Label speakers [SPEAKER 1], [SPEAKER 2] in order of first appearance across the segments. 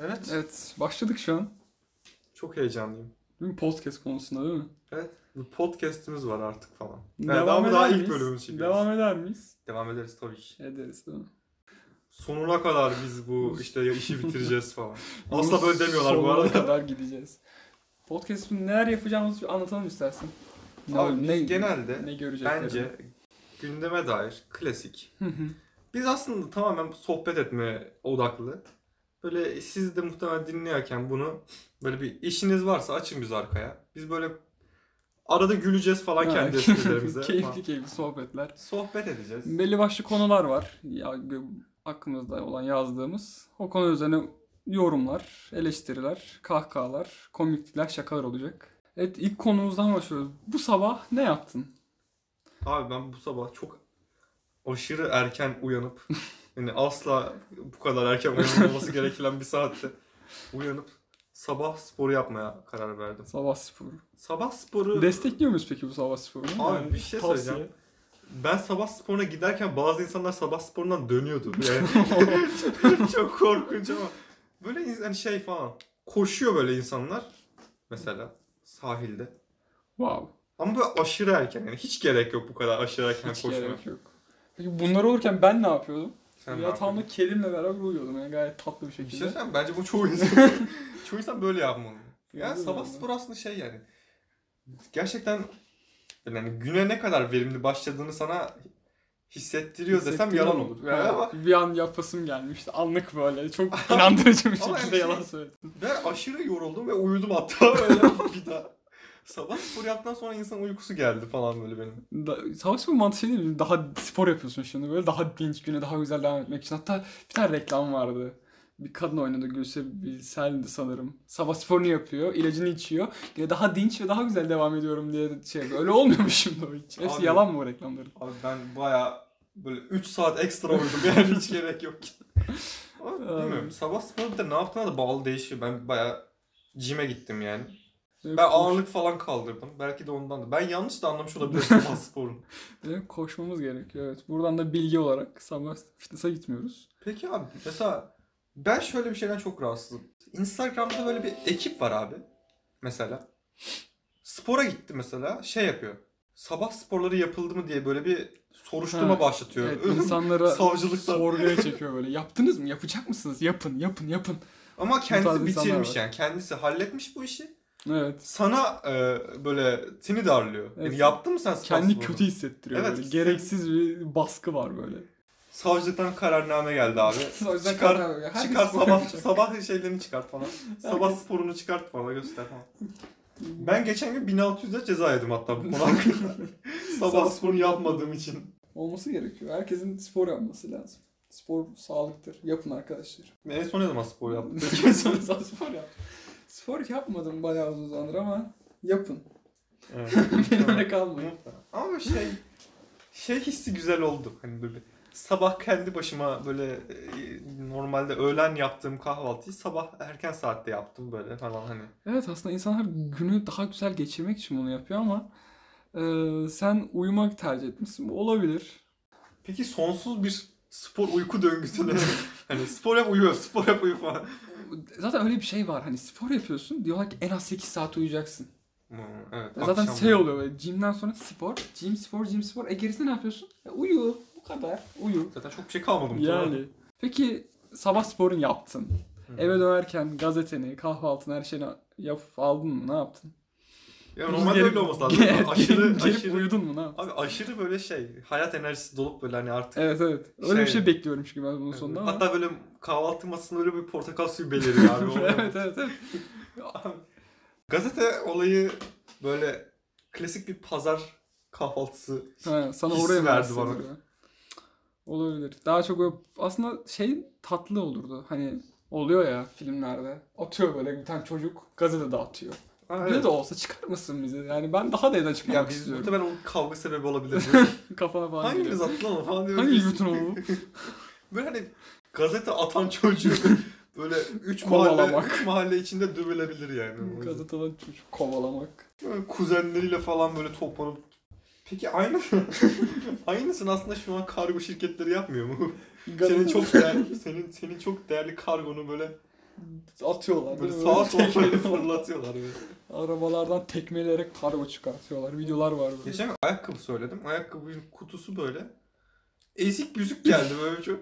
[SPEAKER 1] Evet.
[SPEAKER 2] Evet başladık şu an.
[SPEAKER 1] Çok heyecanlıyım.
[SPEAKER 2] Değil mi? Podcast konusunda değil mi?
[SPEAKER 1] Evet. Bir podcast'imiz var artık falan. Evet,
[SPEAKER 2] Devam
[SPEAKER 1] ama
[SPEAKER 2] eder
[SPEAKER 1] daha
[SPEAKER 2] miyiz?
[SPEAKER 1] ilk bölümümüz çekiyoruz. Devam.
[SPEAKER 2] Devam eder miyiz?
[SPEAKER 1] ederiz tabii ki.
[SPEAKER 2] Ederiz değil mi?
[SPEAKER 1] Sonuna kadar biz bu işte ya işi bitireceğiz falan. Asla böyle demiyorlar bu
[SPEAKER 2] Sonuna
[SPEAKER 1] arada.
[SPEAKER 2] kadar gideceğiz. Podcast'ın neler yapacağımızı bir anlatalım istersen.
[SPEAKER 1] Abi biz genelde
[SPEAKER 2] ne görecekler?
[SPEAKER 1] bence gündeme dair klasik. Biz aslında tamamen sohbet etme odaklı. Böyle siz de muhtemelen dinlerken bunu böyle bir işiniz varsa açın biz arkaya. Biz böyle arada güleceğiz falan kendi esprilerimize. falan.
[SPEAKER 2] Keyifli keyifli sohbetler.
[SPEAKER 1] Sohbet edeceğiz.
[SPEAKER 2] Belli başlı konular var. Ya, gö- aklımızda olan yazdığımız. O konu üzerine yorumlar, eleştiriler, kahkahalar, komiklikler, şakalar olacak. Evet ilk konumuzdan başlıyoruz. Bu sabah ne yaptın?
[SPEAKER 1] Abi ben bu sabah çok aşırı erken uyanıp yani asla bu kadar erken uyanılması gereken bir saatte uyanıp sabah sporu yapmaya karar verdim.
[SPEAKER 2] Sabah sporu.
[SPEAKER 1] Sabah sporu
[SPEAKER 2] Destekliyor muyuz peki bu sabah sporunu?
[SPEAKER 1] Abi bir şey
[SPEAKER 2] tavsiye.
[SPEAKER 1] söyleyeceğim. ben sabah sporuna giderken bazı insanlar sabah sporundan dönüyordu. Yani çok korkunç ama böyle insan şey falan koşuyor böyle insanlar mesela sahilde.
[SPEAKER 2] Wow.
[SPEAKER 1] Ama böyle aşırı erken yani hiç gerek yok bu kadar aşırı erken
[SPEAKER 2] Hiç
[SPEAKER 1] koşmaya.
[SPEAKER 2] gerek yok. Peki bunlar olurken ben ne yapıyordum?
[SPEAKER 1] Sen ne yapıyorsun?
[SPEAKER 2] Yatağımda kedimle beraber uyuyordum yani gayet tatlı bir
[SPEAKER 1] Bir şey
[SPEAKER 2] şekilde.
[SPEAKER 1] söyleyeyim mi? bence bu çoğu insan çoğu insan böyle yapmalı. Yani
[SPEAKER 2] Yapıyor
[SPEAKER 1] sabah
[SPEAKER 2] yani.
[SPEAKER 1] spor aslında şey yani gerçekten yani güne ne kadar verimli başladığını sana hissettiriyor desem
[SPEAKER 2] Hissettiğim
[SPEAKER 1] yalan
[SPEAKER 2] an
[SPEAKER 1] olur.
[SPEAKER 2] Evet,
[SPEAKER 1] Yani ama
[SPEAKER 2] Bir an yapasım gelmişti. Anlık böyle. Çok inandırıcı bir
[SPEAKER 1] Ama
[SPEAKER 2] şekilde
[SPEAKER 1] şey-
[SPEAKER 2] yalan söyledim.
[SPEAKER 1] ben aşırı yoruldum ve uyudum hatta böyle bir daha. Sabah spor yaptıktan sonra insan uykusu geldi falan böyle benim.
[SPEAKER 2] Da, savaş spor mantığı şey değil mi? Daha spor yapıyorsun şimdi böyle daha dinç güne daha güzel devam etmek için. Hatta bir tane reklam vardı. Bir kadın oynadı Gülse Bilsel'di sanırım. Sabah sporunu yapıyor, ilacını içiyor. Yine daha dinç ve daha güzel devam ediyorum diye şey yapıyor. Öyle olmuyormuş şimdi o hiç. Hepsi
[SPEAKER 1] Abi-
[SPEAKER 2] yalan mı o reklamların?
[SPEAKER 1] Abi ben baya böyle 3 saat ekstra uyudum yani hiç gerek yok ki. Ama bilmiyorum sabah sporu bir de ne yaptığına da bağlı değişiyor. Ben baya cime gittim yani.
[SPEAKER 2] Benim,
[SPEAKER 1] Ben
[SPEAKER 2] koş-
[SPEAKER 1] ağırlık falan kaldırdım. Belki de ondan da. Ben yanlış da anlamış olabilirim sabah sporunu.
[SPEAKER 2] benim koşmamız gerekiyor evet. Buradan da bilgi olarak sabah fitness'a gitmiyoruz.
[SPEAKER 1] Peki abi mesela ben şöyle bir şeyden çok rahatsızım. Instagram'da böyle bir ekip var abi. Mesela. Spora gitti mesela. Şey yapıyor. Sabah sporları yapıldı mı diye böyle bir soruşturma
[SPEAKER 2] Ha,
[SPEAKER 1] başlatıyor.
[SPEAKER 2] Evet, insanlara
[SPEAKER 1] Savcılıktan.
[SPEAKER 2] sorguya çekiyor böyle. Yaptınız mı? Yapacak mısınız? Yapın, yapın, yapın.
[SPEAKER 1] Ama
[SPEAKER 2] tarz
[SPEAKER 1] kendisi
[SPEAKER 2] insanlar
[SPEAKER 1] bitirmiş
[SPEAKER 2] var.
[SPEAKER 1] yani. Kendisi halletmiş bu işi.
[SPEAKER 2] Evet.
[SPEAKER 1] Sana e, böyle tini darlıyor. Yani
[SPEAKER 2] Evet.
[SPEAKER 1] yaptın mı sen sabah
[SPEAKER 2] Kendi
[SPEAKER 1] sporunu?
[SPEAKER 2] kötü hissettiriyor
[SPEAKER 1] Evet,
[SPEAKER 2] böyle.
[SPEAKER 1] kesin.
[SPEAKER 2] Gereksiz bir baskı var böyle.
[SPEAKER 1] Savcılıktan kararname geldi abi.
[SPEAKER 2] O yüzden
[SPEAKER 1] Çıkar,
[SPEAKER 2] karar veriyor. Herkes
[SPEAKER 1] çıkar
[SPEAKER 2] spor
[SPEAKER 1] sabah
[SPEAKER 2] yapacak.
[SPEAKER 1] sabah şeylerini çıkart falan. Sabah sporunu çıkart bana göster falan.
[SPEAKER 2] Hmm.
[SPEAKER 1] Ben geçen gün 1600'e ceza yedim hatta bu konu hakkında. sabah
[SPEAKER 2] Sabah
[SPEAKER 1] sporunu yapmadığım için.
[SPEAKER 2] Olması gerekiyor. Herkesin spor yapması lazım. Spor sağlıktır. Yapın arkadaşlar.
[SPEAKER 1] En son ne zaman spor yaptım?
[SPEAKER 2] En son insan spor yap. Spor yapmadım bayağı uzun zamandır ama yapın.
[SPEAKER 1] Evet.
[SPEAKER 2] Benimle kalmayın.
[SPEAKER 1] Ama böyle şey şey hissi güzel oldu. Hani böyle sabah kendi başıma böyle e, normalde öğlen yaptığım kahvaltıyı sabah erken saatte yaptım böyle falan hani.
[SPEAKER 2] Evet aslında insanlar günü daha güzel geçirmek için bunu yapıyor ama e, sen uyumak tercih etmişsin. Bu Olabilir.
[SPEAKER 1] Peki sonsuz bir spor uyku döngüsüne hani spor yap uyu, spor yap uyu falan.
[SPEAKER 2] Zaten öyle bir şey var. Hani spor yapıyorsun. Diyorlar ki en az 8 saat uyuyacaksın.
[SPEAKER 1] Hmm, evet.
[SPEAKER 2] Ya Zaten
[SPEAKER 1] akşam
[SPEAKER 2] şey
[SPEAKER 1] yemeği.
[SPEAKER 2] oluyor böyle. Gymden sonra spor. Gym, spor, gym, spor. E gerisinde ne yapıyorsun? E, uyu. Bu kadar. Uyu.
[SPEAKER 1] Zaten çok bir şey kalmadı mı?
[SPEAKER 2] Yani. Peki sabah sporun yaptın.
[SPEAKER 1] Hı.
[SPEAKER 2] Eve dönerken gazeteni, kahvaltını, her şeyini yap aldın mı? Ne yaptın?
[SPEAKER 1] Ya normalde
[SPEAKER 2] Gelip-
[SPEAKER 1] öyle olması lazım. Ama aşırı
[SPEAKER 2] gelip
[SPEAKER 1] aşırı
[SPEAKER 2] uyudun mu? Ne yaptın?
[SPEAKER 1] Abi aşırı böyle şey hayat enerjisi dolup böyle hani artık
[SPEAKER 2] Evet evet. Öyle
[SPEAKER 1] Şey-
[SPEAKER 2] bir şey bekliyorum çünkü ben bunun sonunda ama.
[SPEAKER 1] Hatta böyle kahvaltı masasında öyle bir portakal suyu beliriyor abi. O-
[SPEAKER 2] evet evet evet.
[SPEAKER 1] Gazete olayı böyle klasik bir pazar kahvaltısı.
[SPEAKER 2] Ha, sana
[SPEAKER 1] Hissi
[SPEAKER 2] oraya
[SPEAKER 1] verdi
[SPEAKER 2] verdi
[SPEAKER 1] bana.
[SPEAKER 2] Olabilir. Daha çok böyle- aslında şey tatlı olurdu. Hani oluyor ya filmlerde. Atıyor böyle bir tane çocuk gazete dağıtıyor.
[SPEAKER 1] Ha,
[SPEAKER 2] Ne de olsa çıkar mısın bizi? Yani ben daha da evden çıkmak
[SPEAKER 1] Ya biz
[SPEAKER 2] istiyorum.
[SPEAKER 1] muhtemelen onun kavga sebebi olabilir.
[SPEAKER 2] Kafana falan
[SPEAKER 1] Hanginiz
[SPEAKER 2] geliyor.
[SPEAKER 1] attı lan falan diyor.
[SPEAKER 2] Hangi
[SPEAKER 1] Biz-
[SPEAKER 2] bütün oldu?
[SPEAKER 1] Böyle hani gazete atan çocuğu böyle 3 mahalle,
[SPEAKER 2] Kovalamak.
[SPEAKER 1] üç mahalle içinde dövülebilir yani.
[SPEAKER 2] Gazeteden çocuk kovalamak.
[SPEAKER 1] Böyle kuzenleriyle falan böyle toplanıp Peki aynı aynısını aslında şu an kargo şirketleri yapmıyor mu? senin çok değer- senin senin çok değerli kargonu böyle
[SPEAKER 2] atıyorlar.
[SPEAKER 1] Böyle
[SPEAKER 2] değil mi?
[SPEAKER 1] sağa sola böyle
[SPEAKER 2] tekmeliyorlar.
[SPEAKER 1] fırlatıyorlar böyle.
[SPEAKER 2] Arabalardan tekmeleyerek kargo çıkartıyorlar. Videolar var böyle.
[SPEAKER 1] Geçen gün ayakkabı söyledim. Ayakkabının kutusu böyle. Ezik büzük geldi böyle çok.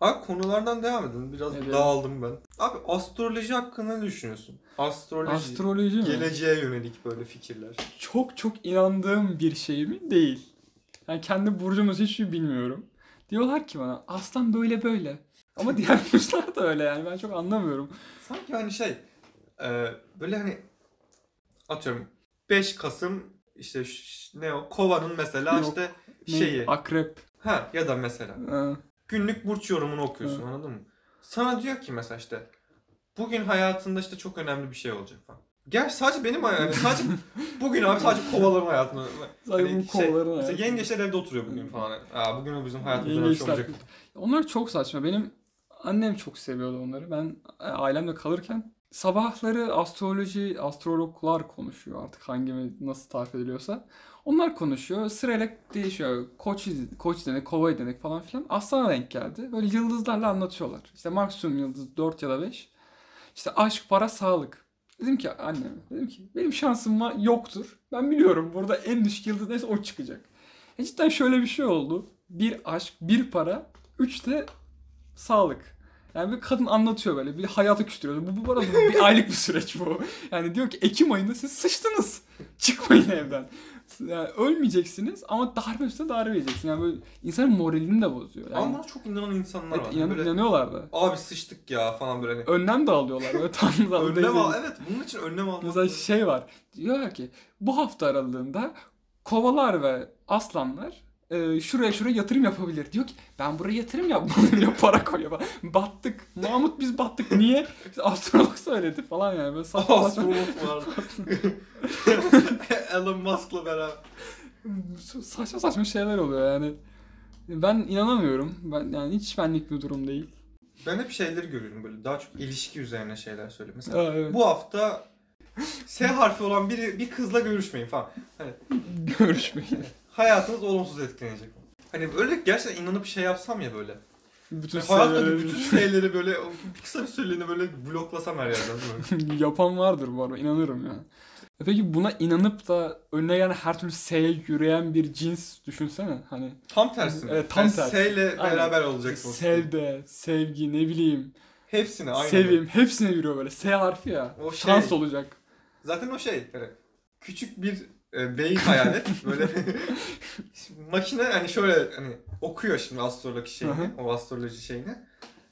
[SPEAKER 1] Abi konulardan devam edin. Biraz
[SPEAKER 2] Edelim.
[SPEAKER 1] dağıldım ben. Abi astroloji hakkında ne düşünüyorsun? Astroloji,
[SPEAKER 2] Astroloji mi?
[SPEAKER 1] geleceğe yönelik böyle fikirler.
[SPEAKER 2] çok çok inandığım bir şey mi? Değil. Yani kendi burcumuz hiç bilmiyorum. Diyorlar ki bana aslan böyle böyle. Ama diğer burçlar da öyle yani ben çok anlamıyorum.
[SPEAKER 1] Sanki hani şey e, böyle hani atıyorum 5 Kasım işte ş- ne o Kova'nın mesela
[SPEAKER 2] Yok.
[SPEAKER 1] işte
[SPEAKER 2] Ne?
[SPEAKER 1] şeyi Hani
[SPEAKER 2] Akrep. e,
[SPEAKER 1] ha ya da mesela
[SPEAKER 2] Ha,
[SPEAKER 1] günlük burç yorumunu okuyorsun anladın mı? Sana diyor ki mesela işte bugün hayatında işte çok önemli bir şey olacak falan. Gerçi sadece benim hayalim. Sadece bugün abi sadece kovaların hayatında.
[SPEAKER 2] Sadece bu kovaların
[SPEAKER 1] şey, mesela
[SPEAKER 2] hayatında.
[SPEAKER 1] yengeçler evde oturuyor bugün falan. Aa, bugün o bizim hayatımızda öyle bir şey
[SPEAKER 2] yengeçler.
[SPEAKER 1] olacak.
[SPEAKER 2] Onlar çok saçma. Benim annem çok seviyordu onları. Ben e, ailemle kalırken sabahları astroloji, astrologlar konuşuyor artık hangi nasıl tarif ediliyorsa. Onlar konuşuyor. Sırayla değişiyor. Koç, koç denek, kova denek falan filan. Aslana denk geldi. Böyle yıldızlarla anlatıyorlar. İşte maksimum yıldız 4 ya da 5. İşte aşk, para, sağlık. Dedim ki anneme, dedim ki benim şansım var, yoktur. Ben biliyorum burada en düşük yıldız neyse o çıkacak. E cidden şöyle bir şey oldu. Bir aşk, bir para, üç de sağlık. Yani bir kadın anlatıyor böyle. Bir hayata küstürüyor. Bu, bu arada bu bir aylık bir süreç bu. Yani diyor ki Ekim ayında siz sıçtınız. Çıkmayın evden. Yani ölmeyeceksiniz ama darbe üstüne darbe yiyeceksin. Yani böyle insanın moralini de bozuyor. Yani,
[SPEAKER 1] Ama buna çok inanan insanlar
[SPEAKER 2] evet,
[SPEAKER 1] var. Hani
[SPEAKER 2] inan-
[SPEAKER 1] böyle,
[SPEAKER 2] inanıyorlar da.
[SPEAKER 1] abi sıçtık ya falan böyle hani.
[SPEAKER 2] Önlem de alıyorlar. Böyle tam da
[SPEAKER 1] Önlem al. Evet bunun için önlem almak.
[SPEAKER 2] Mesela şey var. Diyorlar ki bu hafta aralığında kovalar ve aslanlar e, şuraya şuraya yatırım yapabilir. Diyor ki ben buraya yatırım yapmalıyım diyor para koyuyor. falan. Battık. Mahmut biz battık. Niye? İşte astrolog söyledi falan yani. Böyle saçma
[SPEAKER 1] Aa,
[SPEAKER 2] saçma,
[SPEAKER 1] sorumluluk var. Elon Musk'la beraber.
[SPEAKER 2] saçma saçma şeyler oluyor yani. Ben inanamıyorum. Ben yani hiç benlik bir durum değil.
[SPEAKER 1] Ben hep şeyleri görüyorum böyle daha çok ilişki üzerine şeyler söylüyor. Mesela
[SPEAKER 2] Aa, evet.
[SPEAKER 1] bu hafta S harfi olan biri bir kızla görüşmeyin falan.
[SPEAKER 2] Görüşmeyin.
[SPEAKER 1] Hayatınız olumsuz etkilenecek. Hani böyle gerçekten inanıp şey yapsam ya böyle.
[SPEAKER 2] Bütün
[SPEAKER 1] Hayatımdaki hayattaki
[SPEAKER 2] seviyeleri-
[SPEAKER 1] bütün şeyleri böyle o kısa bir süreliğine böyle bloklasam her yerden böyle.
[SPEAKER 2] Yapan vardır bu arada inanırım ya. E Peki buna inanıp da önüne gelen her türlü S'ye yürüyen bir cins düşünsene. Hani
[SPEAKER 1] Tam tersine.
[SPEAKER 2] Evet, tam
[SPEAKER 1] yani
[SPEAKER 2] tersi.
[SPEAKER 1] S ile
[SPEAKER 2] Aynen.
[SPEAKER 1] beraber olacaksın.
[SPEAKER 2] sevde, sevgi ne bileyim,
[SPEAKER 1] Hepsini aynı.
[SPEAKER 2] sevim hepsine yürüyor böyle. S harfi ya.
[SPEAKER 1] O
[SPEAKER 2] şans
[SPEAKER 1] şey-
[SPEAKER 2] olacak.
[SPEAKER 1] Zaten o şey hani küçük bir e, beyin hayal et. Böyle makine hani şöyle hani okuyor şimdi astroloji
[SPEAKER 2] Hı
[SPEAKER 1] şeyini,
[SPEAKER 2] hı.
[SPEAKER 1] o astroloji şeyini.